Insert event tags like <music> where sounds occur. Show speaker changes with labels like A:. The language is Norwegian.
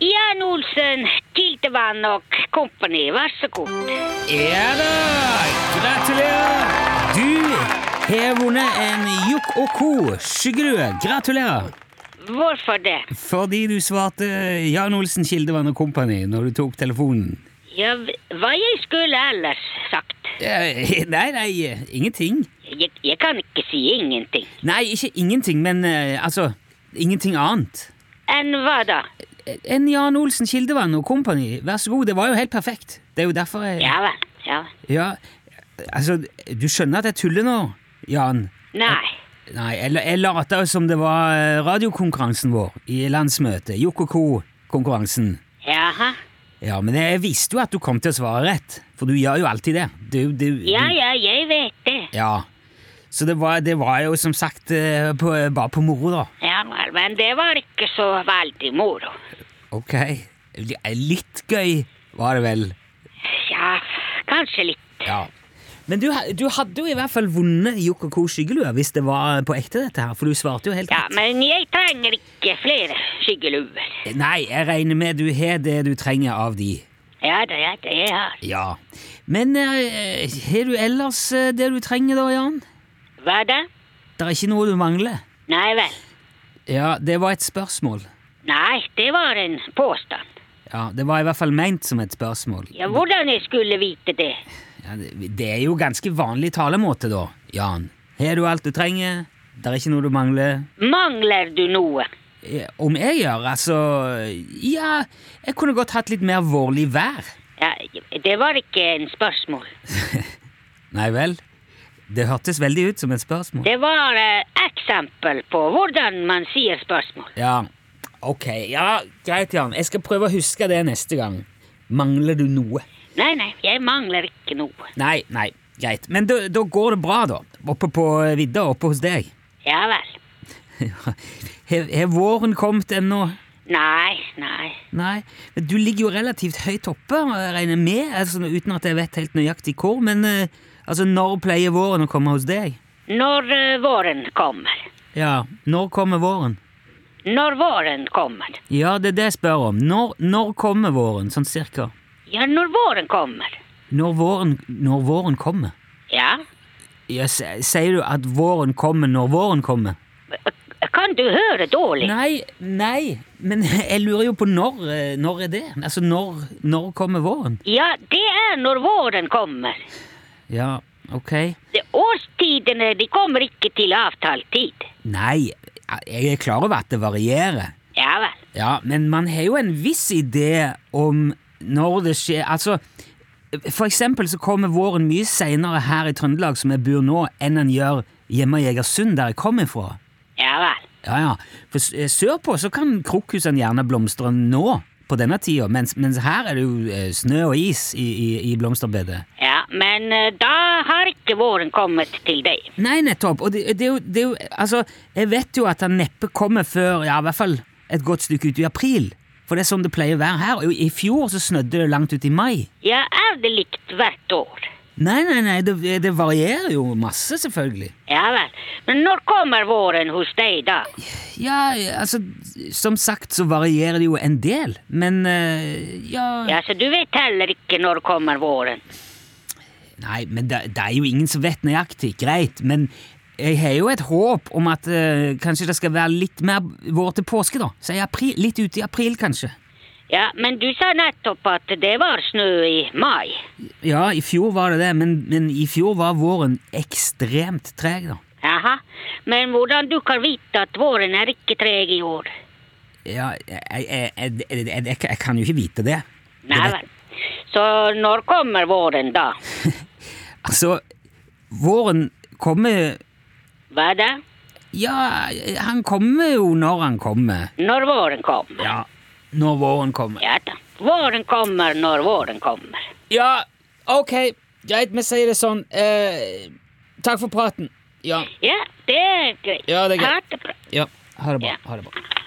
A: Jan Olsen, Kildevann og Company, vær så god.
B: Ja da! Gratulerer! Du har vunnet en Jokk og Co. skyggerue. Gratulerer!
A: Hvorfor det?
B: Fordi du svarte Jan Olsen Kildevann og Company når du tok telefonen.
A: Ja, hva jeg skulle ellers sagt?
B: Eh, Nei, nei, ingenting.
A: Jeg, jeg kan ikke si ingenting.
B: Nei, ikke ingenting, men eh, altså Ingenting annet.
A: Enn hva da?
B: En Jan Olsen Kildevann og Company, vær så god. Det var jo helt perfekt. Det er jo derfor jeg
A: Ja vel, ja vel.
B: Ja, altså, du skjønner at jeg tuller nå, Jan?
A: Nei.
B: Nei, jeg, la- jeg lata jo som det var eh, radiokonkurransen vår i landsmøtet. Jokk og co.-konkurransen.
A: Jaha.
B: Ja, men jeg visste jo at du kom til å svare rett, for du gjør jo alltid det. Du, du,
A: Ja,
B: du,
A: ja, jeg vet det.
B: ja. Så det var, det var jo som sagt eh, på, bare på moro, da.
A: Ja vel, men det var ikke så veldig moro.
B: Ok. Litt gøy var det vel.
A: Ja, kanskje litt.
B: Ja. Men du, ha- du hadde jo i hvert fall vunnet Jokk og co. skyggelua hvis det var på ekte, dette her, for du svarte jo helt
A: Ja,
B: rett.
A: men jeg trenger ikke flere skyggeluer.
B: Nei, jeg regner med du har det du trenger av de.
A: Ja da, ja da, jeg har.
B: Ja. Men eh, har du ellers eh, det du trenger da, Jan?
A: Hva da?
B: Det er ikke noe du mangler?
A: Nei vel.
B: Ja, det var et spørsmål.
A: Nei, det var en påstand.
B: Ja, Det var i hvert fall ment som et spørsmål.
A: Ja, hvordan jeg skulle vite det?
B: Ja, det, det er jo ganske vanlig talemåte, da, Jan. Har du alt du trenger? Det er ikke noe du mangler?
A: Mangler du noe?
B: Eh, Om jeg gjør, altså Ja, jeg kunne godt hatt litt mer vårlig vær.
A: Ja, det var ikke en spørsmål.
B: Nei vel? Det hørtes veldig ut som et spørsmål.
A: Det var et eksempel på hvordan man sier spørsmål.
B: Ja, ok. Ja, greit, Jan. Jeg skal prøve å huske det neste gang. Mangler du noe?
A: Nei, nei, jeg mangler ikke noe.
B: Nei, nei, greit. Men da da går det bra, da. Oppe på eh, vidda, oppe hos deg. <laughs>
A: Ja vel.
B: Har har våren kommet ennå?
A: Nei, nei.
B: Nei. Men Du ligger jo relativt høyt oppe, jeg regner jeg med, altså, uten at jeg vet helt nøyaktig hvor. Men eh, altså, når pleier våren å komme hos deg?
A: Når eh, våren kommer.
B: Ja, når kommer våren?
A: Når våren kommer.
B: Ja, det er det jeg spør om. Når, når kommer våren, sånn cirka?
A: Ja, når våren kommer.
B: Når våren, når våren kommer?
A: Ja.
B: Ja, s- sier du at våren kommer når våren kommer?
A: Kan du høre dårlig?
B: Nei, nei, men <laughs> jeg lurer jo på når. eh, Når er det? Altså, når, når kommer våren?
A: Ja, det er når våren kommer.
B: Ja, ok.
A: De- Årstidene de kommer ikke til avtalt tid.
B: Nei, jeg er klar over at det varierer.
A: Ja vel.
B: Ja, men man har jo en viss idé om når det skjer Altså, for eksempel så kommer våren mye seinere her i Trøndelag, som jeg bor nå, enn den gjør hjemme i Egersund, der jeg kommer ifra.
A: Ja vel.
B: Ja, ja. For s- eh, sørpå så kan krokkhusene gjerne blomstre nå, på denne tida, mens, mens her er det jo eh, snø og is i, i, i blomsterbedet.
A: Ja, men eh, da har ikke våren kommet til deg.
B: Nei, nettopp. Og det, det, er jo, det er jo Altså, jeg vet jo at han neppe kommer før ja, i hvert fall et godt stykke ut i april. For det er sånn det pleier å være her. Og I fjor så snødde det langt ut i mai.
A: Ja, er det likt hvert år?
B: Nei, nei, nei, det, det varierer jo masse, selvfølgelig.
A: Ja vel. Men når kommer våren hos deg da?
B: Ja, altså, som sagt så varierer det jo en del, men eh, ja
A: Ja, så du vet heller ikke når kommer våren.
B: Nei, men det, det er jo ingen som vet nøyaktig. Greit, men jeg har jo et håp om at eh, kanskje det skal være litt mer vår til påske, da. Så i april, litt ute i april, kanskje.
A: Ja, men du sa nettopp at det var snø i mai.
B: Ja, i fjor var det det, men, men i fjor var våren ekstremt treg, da.
A: Jaha. Men hvordan du kan vite at våren er ikke treg i år?
B: Ja, jeg, jeg, jeg, jeg, jeg, jeg kan jo ikke vite det.
A: Nei
B: Det-
A: vel. Så når kommer våren da?
B: Altså, våren kommer
A: Hva da?
B: Ja, han kommer jo når han kommer.
A: Når våren kommer.
B: Ja, når våren kommer.
A: Ja da. Våren kommer når våren kommer.
B: Ja, ok, greit, vi sier det sånn. Eh, takk for praten. Ja,
A: Ja, det er greit.
B: Ja, det er greit.
A: Ha det bra.
B: ja. Ha det bra.
A: Ja.
B: Ha det bra.